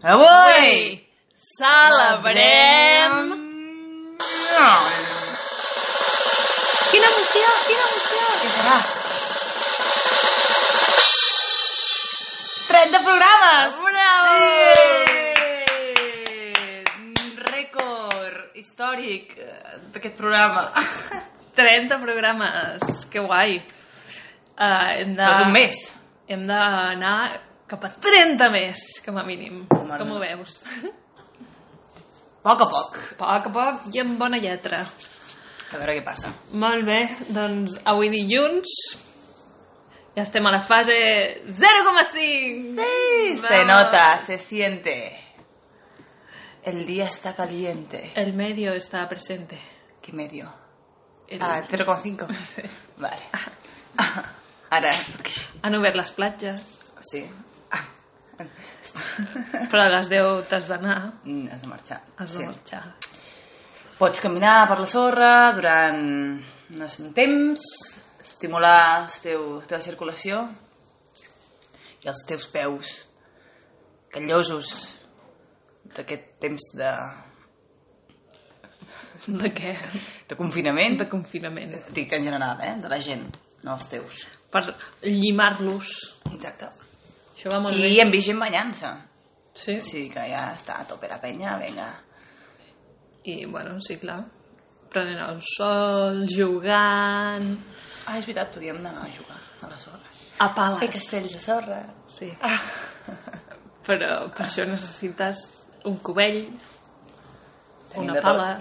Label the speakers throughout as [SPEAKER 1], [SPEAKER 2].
[SPEAKER 1] Avui
[SPEAKER 2] celebrem...
[SPEAKER 1] Ah.
[SPEAKER 2] Quina emoció, quina emoció! Què serà?
[SPEAKER 1] 30 programes!
[SPEAKER 2] Bravo!
[SPEAKER 1] Eh! Rècord històric eh, d'aquest programa.
[SPEAKER 2] 30 programes, que guai! Uh, hem de...
[SPEAKER 1] No és un mes.
[SPEAKER 2] Hem d'anar cap a 30 més, com a mínim.
[SPEAKER 1] Home,
[SPEAKER 2] Com
[SPEAKER 1] no.
[SPEAKER 2] ho veus?
[SPEAKER 1] A poc a poc.
[SPEAKER 2] A poc a poc i amb bona lletra.
[SPEAKER 1] A veure què passa.
[SPEAKER 2] Molt bé, doncs avui dilluns ja estem a la fase 0,5!
[SPEAKER 1] Sí, se
[SPEAKER 2] Vamos.
[SPEAKER 1] nota, se siente. El día está caliente.
[SPEAKER 2] El medio está presente.
[SPEAKER 1] ¿Qué medio?
[SPEAKER 2] El...
[SPEAKER 1] Ah, el 0,5.
[SPEAKER 2] Sí.
[SPEAKER 1] Vale. Ara,
[SPEAKER 2] Han obert les platges,
[SPEAKER 1] sí. Ah.
[SPEAKER 2] però a les 10 t'has d'anar,
[SPEAKER 1] Mm, Has de marxar.
[SPEAKER 2] has de marxar.
[SPEAKER 1] Pots caminar per la sorra durant no sé, un temps, estimular el teu, la teva circulació i els teus peus callosos d'aquest temps de,
[SPEAKER 2] De què?
[SPEAKER 1] de confinament.
[SPEAKER 2] De confinament.
[SPEAKER 1] Dic en general, eh? De la gent, no els teus.
[SPEAKER 2] Per llimar-los.
[SPEAKER 1] Exacte.
[SPEAKER 2] Això va molt
[SPEAKER 1] I
[SPEAKER 2] bé.
[SPEAKER 1] hem vist gent banyant-se.
[SPEAKER 2] Sí. sí.
[SPEAKER 1] Sí, que ja està a tope la penya, vinga.
[SPEAKER 2] I, bueno, sí, clar. Prenent el sol, jugant...
[SPEAKER 1] Ah, és veritat, podíem anar a jugar a la sorra.
[SPEAKER 2] A pales.
[SPEAKER 1] castells de sorra.
[SPEAKER 2] Sí.
[SPEAKER 1] Ah.
[SPEAKER 2] Però per això necessites un cubell,
[SPEAKER 1] Tenim
[SPEAKER 2] una
[SPEAKER 1] de tot.
[SPEAKER 2] pala...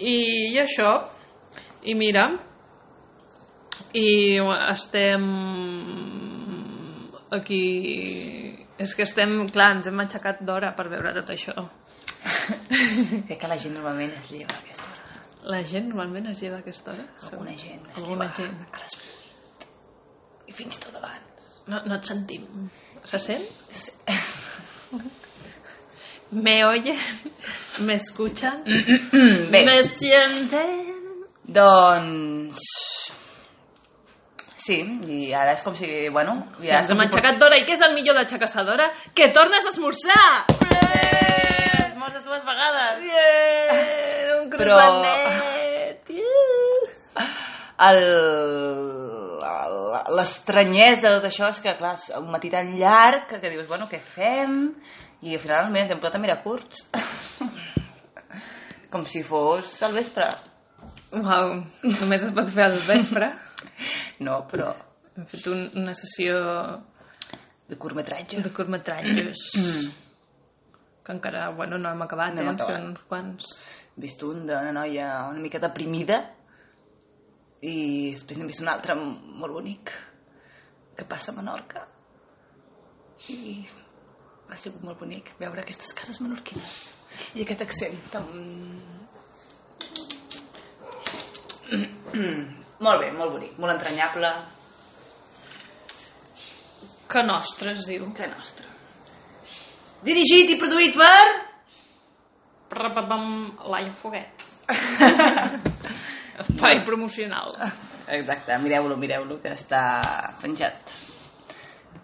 [SPEAKER 2] I, I això, i mira, i estem aquí... És que estem, clar, ens hem aixecat d'hora per veure tot això.
[SPEAKER 1] Crec que la gent normalment es lleva a aquesta hora.
[SPEAKER 2] La gent normalment es lleva a aquesta hora?
[SPEAKER 1] Alguna gent es
[SPEAKER 2] Alguna
[SPEAKER 1] lleva
[SPEAKER 2] gent.
[SPEAKER 1] a les 8. I fins tot abans.
[SPEAKER 2] No, no et sentim. Se sent?
[SPEAKER 1] Sí.
[SPEAKER 2] Me oyen? Me escuchan?
[SPEAKER 1] Mm, Bé,
[SPEAKER 2] Me sienten?
[SPEAKER 1] doncs... Sí, i ara és com si... Bueno,
[SPEAKER 2] Ja,
[SPEAKER 1] és
[SPEAKER 2] ens
[SPEAKER 1] com
[SPEAKER 2] hem
[SPEAKER 1] si
[SPEAKER 2] aixecat d'hora i què és el millor d'aixecar-se d'hora? Que tornes a esmorzar!
[SPEAKER 1] Eh, Es mors dues vegades.
[SPEAKER 2] Yeah! Un
[SPEAKER 1] Però-
[SPEAKER 2] croissanet! Yeah!
[SPEAKER 1] El- la- l'estranyesa de tot això és que, clar, és un matí tan llarg que, que dius, bueno, què fem? I al final mira, ens hem posat a mirar curts. Com si fos al vespre.
[SPEAKER 2] Uau, només es pot fer al vespre.
[SPEAKER 1] No, però
[SPEAKER 2] Hem fet un, una sessió
[SPEAKER 1] de curtmetratge.
[SPEAKER 2] de curtmetratges que encara, bueno, no hem acabat,
[SPEAKER 1] No hem
[SPEAKER 2] eh? Ens
[SPEAKER 1] acabat.
[SPEAKER 2] queden uns quants.
[SPEAKER 1] He vist un d'una noia una mica deprimida i després n'he vist un altre molt bonic que passa a Menorca. I va ser molt bonic veure aquestes cases menorquines i aquest accent tan... molt bé, molt bonic, molt entranyable.
[SPEAKER 2] Que nostres, diu.
[SPEAKER 1] Que nostre. Dirigit i produït per...
[SPEAKER 2] Rapapam, Laia Foguet. Espai promocional.
[SPEAKER 1] Exacte, mireu-lo, mireu-lo, que està penjat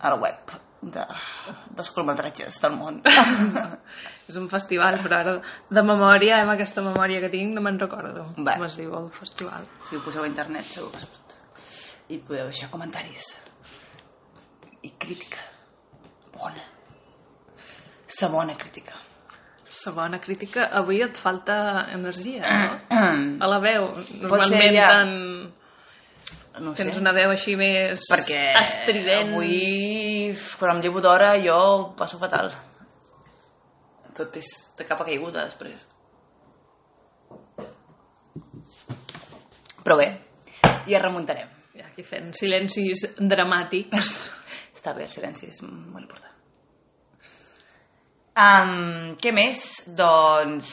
[SPEAKER 1] a la web de, dels curtmetratges del món.
[SPEAKER 2] És un festival, però ara de memòria, eh, amb aquesta memòria que tinc, no me'n recordo
[SPEAKER 1] Va.
[SPEAKER 2] com es diu el festival.
[SPEAKER 1] si ho poseu a internet segur que surt. I podeu deixar comentaris. I crítica. Bona. Sa bona crítica.
[SPEAKER 2] La bona crítica, avui et falta energia, no? A la veu,
[SPEAKER 1] Mm. Pot ser,
[SPEAKER 2] normalment
[SPEAKER 1] ja.
[SPEAKER 2] tan...
[SPEAKER 1] No ho sé.
[SPEAKER 2] tens una veu així més
[SPEAKER 1] Perquè
[SPEAKER 2] estrident.
[SPEAKER 1] avui, quan em llevo d'hora, jo ho passo fatal. Tot és de capa caiguda després. Però bé, ja remuntarem.
[SPEAKER 2] Ja, aquí fent silencis dramàtics.
[SPEAKER 1] Està bé, el silenci és molt important. Um, què més? Doncs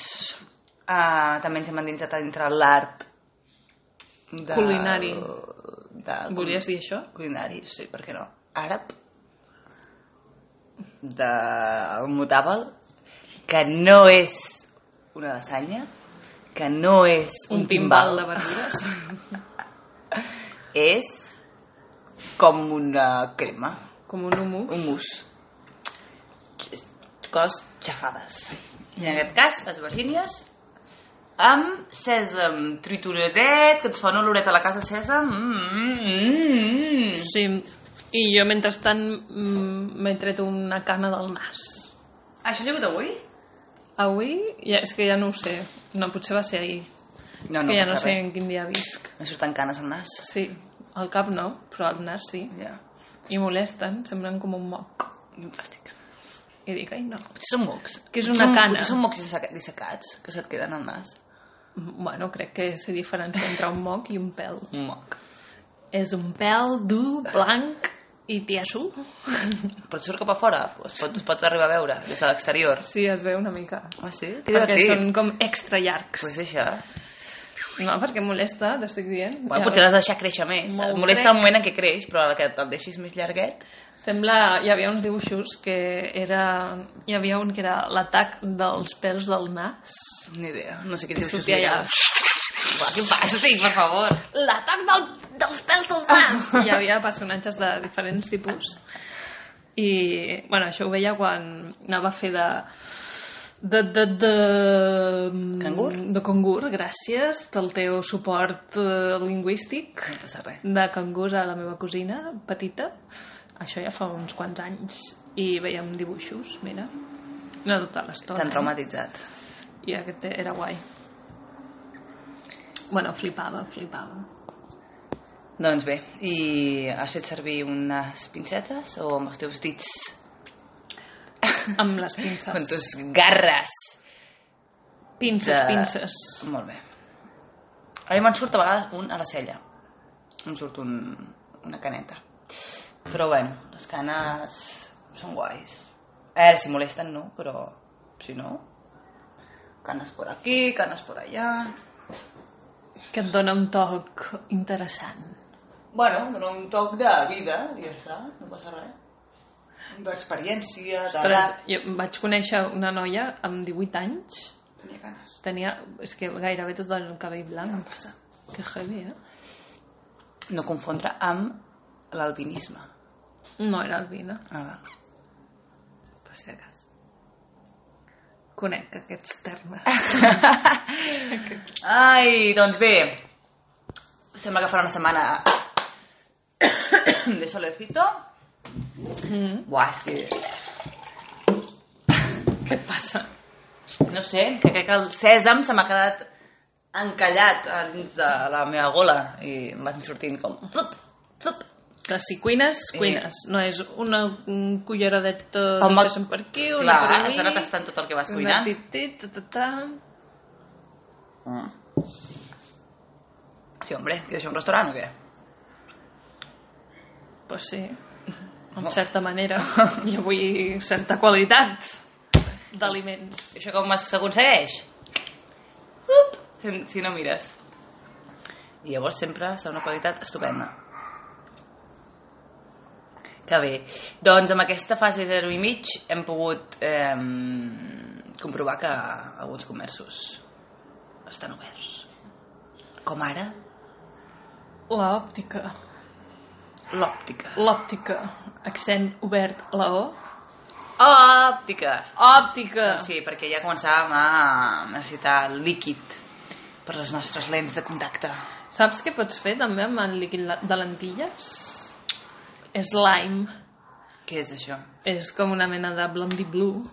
[SPEAKER 1] uh, també ens hem endinsat dintre l'art de...
[SPEAKER 2] Culinari.
[SPEAKER 1] De...
[SPEAKER 2] Volies dir això?
[SPEAKER 1] Culinari, sí, per què no? Àrab. Del mutàbal. Que no és una lasanya. Que no és un,
[SPEAKER 2] Un timbal de verdures?
[SPEAKER 1] És com una crema.
[SPEAKER 2] Com un humus?
[SPEAKER 1] Un mus. cos xafades. I en aquest cas, les Virgínies, amb sèsam trituradet, que ens fa un oloret a la casa sèsam. Mm, mm, mm.
[SPEAKER 2] Sí, i jo mentrestant mm, m'he tret una cana del nas.
[SPEAKER 1] Això ha sigut avui?
[SPEAKER 2] Avui? Ja, és que ja no ho sé. No, potser va ser ahir.
[SPEAKER 1] No, Ah,
[SPEAKER 2] és
[SPEAKER 1] no
[SPEAKER 2] que ja
[SPEAKER 1] passa
[SPEAKER 2] no sé
[SPEAKER 1] res.
[SPEAKER 2] en quin dia visc.
[SPEAKER 1] Me surten canes al nas.
[SPEAKER 2] Sí, al cap no, però al nas sí.
[SPEAKER 1] Ja.
[SPEAKER 2] I molesten, semblen com un moc.
[SPEAKER 1] I em fàstic.
[SPEAKER 2] I dic, ai no.
[SPEAKER 1] Potser són mocs.
[SPEAKER 2] Que és
[SPEAKER 1] Potser
[SPEAKER 2] una
[SPEAKER 1] són-
[SPEAKER 2] cana.
[SPEAKER 1] Potser són mocs disseca- dissecats, que se't queden al nas.
[SPEAKER 2] Bueno, crec que sé diferenciar entre un moc i un pèl.
[SPEAKER 1] Un moc.
[SPEAKER 2] És un pèl dur, blanc i tieso.
[SPEAKER 1] Però surt cap a fora, es pot, es pot arribar a veure des de l'exterior.
[SPEAKER 2] Sí, es veu una mica.
[SPEAKER 1] Ah, sí? Que
[SPEAKER 2] Perquè
[SPEAKER 1] divertit.
[SPEAKER 2] són com extra llargs.
[SPEAKER 1] Pues això.
[SPEAKER 2] No, perquè molesta, t'estic dient.
[SPEAKER 1] Bueno, potser l'has de deixar créixer més.
[SPEAKER 2] Molt
[SPEAKER 1] Et molesta
[SPEAKER 2] crec.
[SPEAKER 1] el moment en què creix, però ara que te'l deixis més llarguet...
[SPEAKER 2] Sembla... Hi havia uns dibuixos que era... Hi havia un que era l'atac dels pèls del nas.
[SPEAKER 1] Ni idea. No sé quins
[SPEAKER 2] Que
[SPEAKER 1] dibuixos
[SPEAKER 2] sortia allà.
[SPEAKER 1] mirava. Va, que fàstic, per favor.
[SPEAKER 2] L'atac del, dels pèls del
[SPEAKER 1] Ah.
[SPEAKER 2] nas! Hi havia personatges de diferents tipus. I, bueno, això ho veia quan anava a fer de... De, de, de...
[SPEAKER 1] Cangur?
[SPEAKER 2] De cangur, gràcies del teu suport eh, lingüístic.
[SPEAKER 1] No passa res.
[SPEAKER 2] de cangur a la meva cosina petita això ja fa uns quants anys i veiem dibuixos, mira no tota l'estona
[SPEAKER 1] Tan traumatitzat.
[SPEAKER 2] eh? i aquest era guai bueno, flipava, flipava
[SPEAKER 1] Doncs bé, i has fet servir unes pincetes o amb els teus dits?
[SPEAKER 2] amb les pinces
[SPEAKER 1] Amb tus garres? Doncs
[SPEAKER 2] pinces,
[SPEAKER 1] de-
[SPEAKER 2] pinces
[SPEAKER 1] Molt bé. A mi me'n surt a vegades un a la cella. Em surt un, una caneta. Però bueno, les canes són guais. A veure, si molesten no, però si no... Canes por aquí, canes por allà...
[SPEAKER 2] que et dona un toc interessant
[SPEAKER 1] Bueno, dona un toc de vida, i ja està, no passa res. D'experiència,
[SPEAKER 2] Ostres, jo vaig conèixer una noia amb 18 anys
[SPEAKER 1] Tenia canes.
[SPEAKER 2] tenia, és que gairebé tot el cabell blanc que heavy, eh?
[SPEAKER 1] No confondre amb l'albinisme.
[SPEAKER 2] no era albina
[SPEAKER 1] Ah, va. Per si de cas.
[SPEAKER 2] conec aquests termes
[SPEAKER 1] Ai, doncs bé. Sembla que farà una setmana de solecito.
[SPEAKER 2] mm.
[SPEAKER 1] Buah, és que...
[SPEAKER 2] Què et passa?
[SPEAKER 1] No sé, que crec que el sèsam se m'ha quedat encallat a dins de la meva gola i em van sortint com... Plup, plup.
[SPEAKER 2] Que si cuines,
[SPEAKER 1] Eh.
[SPEAKER 2] cuines. No és una un culleradeta
[SPEAKER 1] Home,
[SPEAKER 2] de sèsam per aquí, una
[SPEAKER 1] Clar,
[SPEAKER 2] per allí...
[SPEAKER 1] has anat tastant tot el que vas cuinant.
[SPEAKER 2] Una titit, ta, ta, ta.
[SPEAKER 1] Mm. Sí, hombre, que això un restaurant o què?
[SPEAKER 2] Pues sí, en
[SPEAKER 1] Oh.
[SPEAKER 2] certa manera. Jo vull certa qualitat d'aliments.
[SPEAKER 1] Això com es- s'aconsegueix? Up, si, si no mires. I llavors sempre serà una qualitat estupenda. Que bé. Doncs amb aquesta fase 0 i mig hem pogut eh, comprovar que alguns comerços estan oberts. Com ara
[SPEAKER 2] L'òptica.
[SPEAKER 1] l'òptica.
[SPEAKER 2] L'òptica. Accent obert a la O.
[SPEAKER 1] Òptica!
[SPEAKER 2] Òptica!
[SPEAKER 1] Sí, perquè ja començàvem a necessitar líquid per les nostres lents de contacte.
[SPEAKER 2] Saps què pots fer també amb el líquid la- de lentilles? Slime.
[SPEAKER 1] Què és això?
[SPEAKER 2] És com una mena de blondi blue.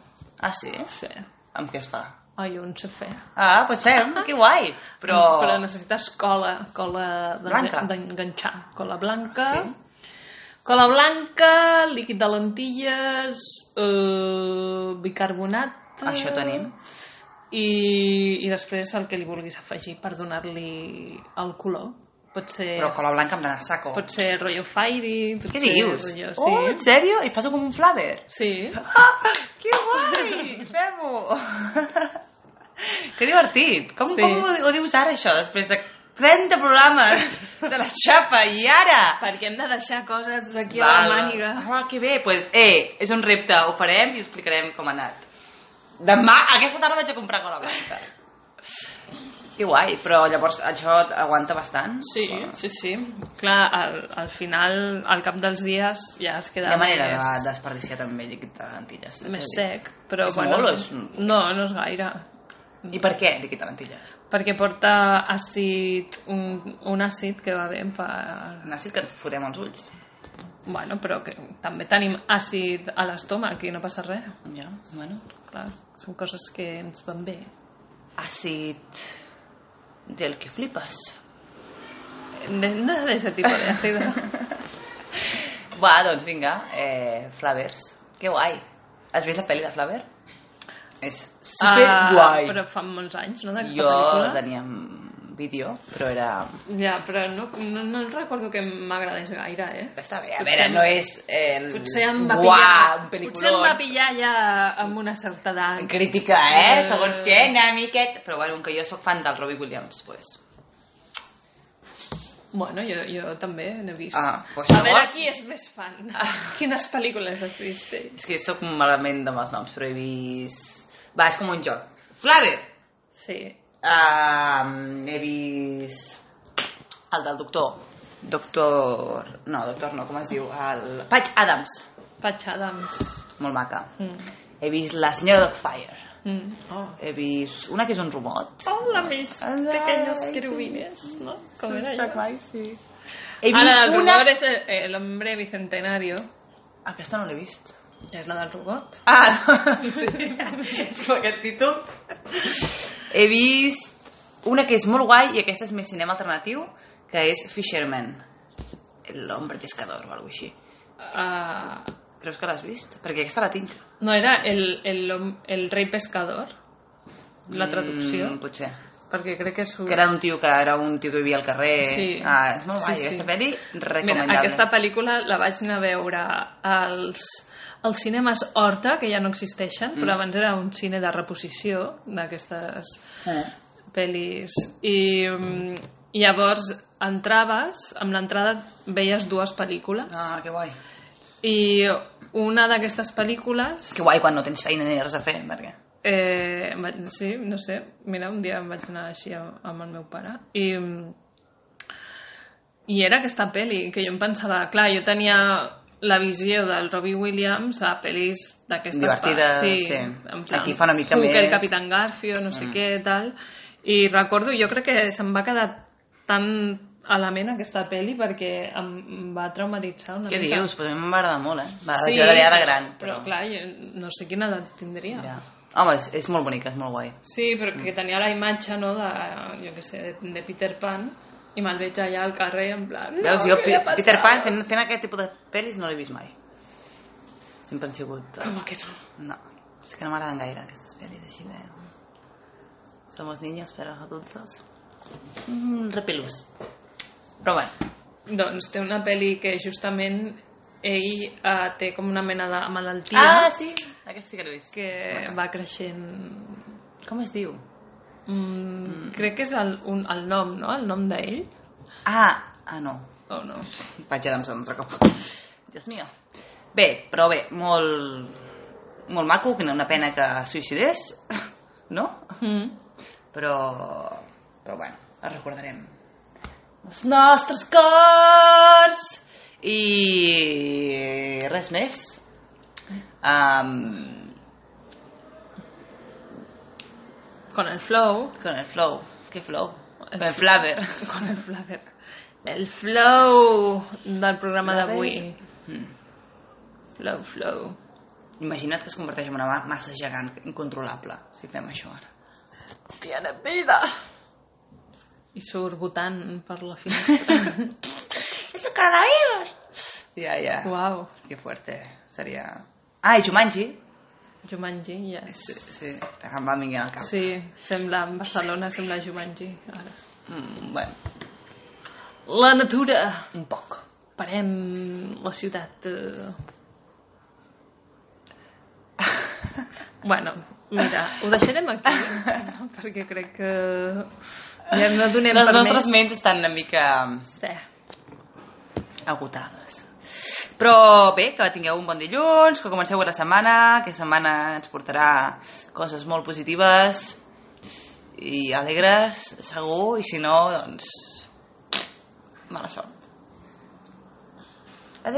[SPEAKER 1] Ah, sí?
[SPEAKER 2] Sí.
[SPEAKER 1] Amb què es fa?
[SPEAKER 2] Oh, jo en sé fer.
[SPEAKER 1] Ah, pues fem, que guai! Però...
[SPEAKER 2] Mm, Però necessites cola, cola de-
[SPEAKER 1] Blanca.
[SPEAKER 2] d'enganxar. Cola blanca.
[SPEAKER 1] Sí.
[SPEAKER 2] Cola blanca, líquid de lentilles, eh, bicarbonat...
[SPEAKER 1] Això tenim.
[SPEAKER 2] I, I després el que li vulguis afegir per donar-li el color. Pot ser,
[SPEAKER 1] Però cola blanca amb gran saco.
[SPEAKER 2] pot ser rotllo fairy... Pot
[SPEAKER 1] Què
[SPEAKER 2] ser
[SPEAKER 1] dius?
[SPEAKER 2] Rotllo,
[SPEAKER 1] Oh, en
[SPEAKER 2] sí.
[SPEAKER 1] sèrio? I passo com un flaver?
[SPEAKER 2] sí.
[SPEAKER 1] Que guai! Fem-ho! que divertit! Com,
[SPEAKER 2] Sí.
[SPEAKER 1] com ho, ho dius ara, això? Després de 30 programes de la xapa i ara...
[SPEAKER 2] Perquè hem de deixar coses aquí a
[SPEAKER 1] Val.
[SPEAKER 2] la màniga.
[SPEAKER 1] Ah, que bé, doncs, pues, eh, és un repte, ho farem i explicarem com ha anat. Demà, aquesta tarda vaig a comprar cola blanca. Que guai, però llavors això aguanta bastant?
[SPEAKER 2] Sí,
[SPEAKER 1] Bueno,
[SPEAKER 2] sí, sí. Clar, al, al final, al cap dels dies, ja es
[SPEAKER 1] Hi
[SPEAKER 2] queda
[SPEAKER 1] ha manera
[SPEAKER 2] més,
[SPEAKER 1] de desperdiciar també líquid de lentilles. t'haig de
[SPEAKER 2] més
[SPEAKER 1] dir.
[SPEAKER 2] sec. Però,
[SPEAKER 1] És
[SPEAKER 2] bueno,
[SPEAKER 1] molt o és-
[SPEAKER 2] No, no és gaire.
[SPEAKER 1] I per què líquid de lentilles?
[SPEAKER 2] Perquè porta àcid, un, un àcid que va bé per...
[SPEAKER 1] Un àcid que ens fotem als ulls.
[SPEAKER 2] Bueno, però que també tenim àcid a l'estómac i no passa res.
[SPEAKER 1] Ja, bueno.
[SPEAKER 2] Clar, són coses que ens van bé.
[SPEAKER 1] Àcid del que flipes.
[SPEAKER 2] De, no de ese tipo de eh? ácido.
[SPEAKER 1] Va, doncs vinga, eh, Flavers. Que guai. Has vist la pel·li de Flaver? És
[SPEAKER 2] Ah,
[SPEAKER 1] superguai.
[SPEAKER 2] però fa molts anys, no, d'aquesta
[SPEAKER 1] jo
[SPEAKER 2] pel·lícula?
[SPEAKER 1] tenia un vídeo, però era...
[SPEAKER 2] Ja, però no, no, no recordo que m'agradés gaire, eh?
[SPEAKER 1] Està bé, a
[SPEAKER 2] Potser
[SPEAKER 1] veure,
[SPEAKER 2] em-
[SPEAKER 1] no és... Eh,
[SPEAKER 2] Potser em va
[SPEAKER 1] Uah,
[SPEAKER 2] pillar...
[SPEAKER 1] un
[SPEAKER 2] potser em va
[SPEAKER 1] peliculón.
[SPEAKER 2] pillar ja amb una certa edat.
[SPEAKER 1] crítica, eh?
[SPEAKER 2] Eh.
[SPEAKER 1] Segons què, una miquet... Però bueno, que jo sóc fan del Robbie Williams, pues.
[SPEAKER 2] Bueno, jo, jo també n'he vist.
[SPEAKER 1] Ah, pues
[SPEAKER 2] a veure
[SPEAKER 1] llavors-
[SPEAKER 2] qui és més fan. Quines pel·lícules has vist ell?
[SPEAKER 1] És que sóc malament amb els noms, però he vist... Va, és com un joc. Flaver!
[SPEAKER 2] Sí.
[SPEAKER 1] Um, he vist el del doctor. Doctor... No, doctor no, com es diu? El... Patch Adams.
[SPEAKER 2] Patch Adams.
[SPEAKER 1] Molt maca.
[SPEAKER 2] Mm.
[SPEAKER 1] He vist la senyora Dogfire.
[SPEAKER 2] Mm. Oh.
[SPEAKER 1] He vist una que és un robot.
[SPEAKER 2] Hola, mis
[SPEAKER 1] Hola,
[SPEAKER 2] pequeños
[SPEAKER 1] sí.
[SPEAKER 2] querubines, ¿no? Com era allò?
[SPEAKER 1] sí. He
[SPEAKER 2] Ah, la
[SPEAKER 1] vist
[SPEAKER 2] del
[SPEAKER 1] una...
[SPEAKER 2] robot és el, el hombre bicentenario.
[SPEAKER 1] Aquesta Ah, no l'he vist.
[SPEAKER 2] És la del robot.
[SPEAKER 1] Ah, no. sí. és com aquest títol. He vist una que és molt guai i aquesta és més cinema alternatiu, que és Fisherman. L'hombre pescador o alguna així.
[SPEAKER 2] Ah,
[SPEAKER 1] Creus que l'has vist? Perquè aquesta la tinc.
[SPEAKER 2] no era el, el, hom- el rei pescador? La traducció?
[SPEAKER 1] Mm, potser.
[SPEAKER 2] Perquè crec que és... un-
[SPEAKER 1] Que era un tio que era un tio que vivia al carrer.
[SPEAKER 2] Sí.
[SPEAKER 1] Ah, és molt guai.
[SPEAKER 2] Sí, sí.
[SPEAKER 1] Aquesta pel·li,
[SPEAKER 2] Mira,
[SPEAKER 1] recomendable.
[SPEAKER 2] aquesta pel·lícula la vaig anar a veure als, als cinemes Horta, que ja no existeixen,
[SPEAKER 1] Mm.
[SPEAKER 2] però abans era un cine de reposició d'aquestes
[SPEAKER 1] Eh.
[SPEAKER 2] pel·lis. I mm, llavors entraves, amb l'entrada veies dues pel·lícules
[SPEAKER 1] Ah, que guai.
[SPEAKER 2] i una d'aquestes pel·lícules
[SPEAKER 1] Que guai quan no tens feina ni res a fer, perquè...
[SPEAKER 2] Eh, em vaig- sí, no sé. Mira, un dia em vaig anar així amb, amb el meu pare i, i era aquesta pel·li que jo em pensava... Clar, jo tenia la visió del Robbie Williams a pel·lis d'aquestes...
[SPEAKER 1] Divertides,
[SPEAKER 2] pa-
[SPEAKER 1] sí.
[SPEAKER 2] En plan,
[SPEAKER 1] Aquí fa una mica
[SPEAKER 2] Hooker,
[SPEAKER 1] més- Mm.
[SPEAKER 2] Capitán Garfio, no sé què, tal... I recordo, jo crec que se'm va quedar tan a la ment aquesta pel·li perquè em em va traumatitzar una
[SPEAKER 1] Què
[SPEAKER 2] mica.
[SPEAKER 1] dius? Pues a mi m'agrada molt, eh? Va, sí, jo la veia de gran.
[SPEAKER 2] Però, clar, jo no sé quina edat tindria.
[SPEAKER 1] Ja. Home, és, és molt bonica, és molt guai.
[SPEAKER 2] Sí, però que tenia la imatge, no?, de, jo què sé, de, de Peter Pan, i me'l veig allà al carrer en plan... No,
[SPEAKER 1] Veus, jo
[SPEAKER 2] què li
[SPEAKER 1] Pe-
[SPEAKER 2] ha passat?"
[SPEAKER 1] Peter Pan fent, fent aquest tipus de pel·lis no l'he vist mai. Sempre han sigut... eh,
[SPEAKER 2] Com que no?
[SPEAKER 1] No, és que no m'agraden gaire aquestes pel·lis així de... Somos niños, pero adultos. Mm, repelús. Però bueno,
[SPEAKER 2] Doncs té una pel·li que justament ell eh, té com una mena de malaltia
[SPEAKER 1] Ah, sí, aquesta sí que l'he vist.
[SPEAKER 2] que va creixent...
[SPEAKER 1] Com es diu?
[SPEAKER 2] Mm, Crec que és el, un, el nom, no?, el nom d'ell,
[SPEAKER 1] Ah, ah no.
[SPEAKER 2] o no?
[SPEAKER 1] Vaig a demsar un altre cop. Dios mío. Bé, però bé, molt, molt maco, que no una pena que es suïcidés, no?
[SPEAKER 2] Mm.
[SPEAKER 1] Però, però bueno, el recordarem. Els nostres cors! I res més. Um,
[SPEAKER 2] Con el flow,
[SPEAKER 1] con el flow. Que flow? Con el flaver.
[SPEAKER 2] con el flaver. El flow del programa
[SPEAKER 1] Flaver.
[SPEAKER 2] d'avui.
[SPEAKER 1] Mm.
[SPEAKER 2] Flow, flow.
[SPEAKER 1] Imagina't que es converteix en una ma- massa gegant incontrolable, si fem això ara.
[SPEAKER 2] Tiene vida. I surt votant per la finestra.
[SPEAKER 1] ¡Es el coronavirus! Ja, ja.
[SPEAKER 2] Uau,
[SPEAKER 1] Que fuerte. Seria... Ah, i Jumanji.
[SPEAKER 2] Jumanji, yes.
[SPEAKER 1] Sí, sí. Em va vinguent al cap. Sí.
[SPEAKER 2] Sí, sembla, en Barcelona sembla Jumanji, ara.
[SPEAKER 1] Mm, bueno,
[SPEAKER 2] La natura.
[SPEAKER 1] un poc.
[SPEAKER 2] Parem la ciutat. eh. Bueno, mira, ho deixarem aquí, perquè crec que ja no donem
[SPEAKER 1] Les
[SPEAKER 2] per
[SPEAKER 1] nostres
[SPEAKER 2] més.
[SPEAKER 1] ments estan una mica um,
[SPEAKER 2] Sí.
[SPEAKER 1] agotades. Però bé, que tingueu un bon dilluns, que comenceu la setmana, que setmana ens portarà coses molt positives i alegres, segur, i si no, doncs... Mala sort.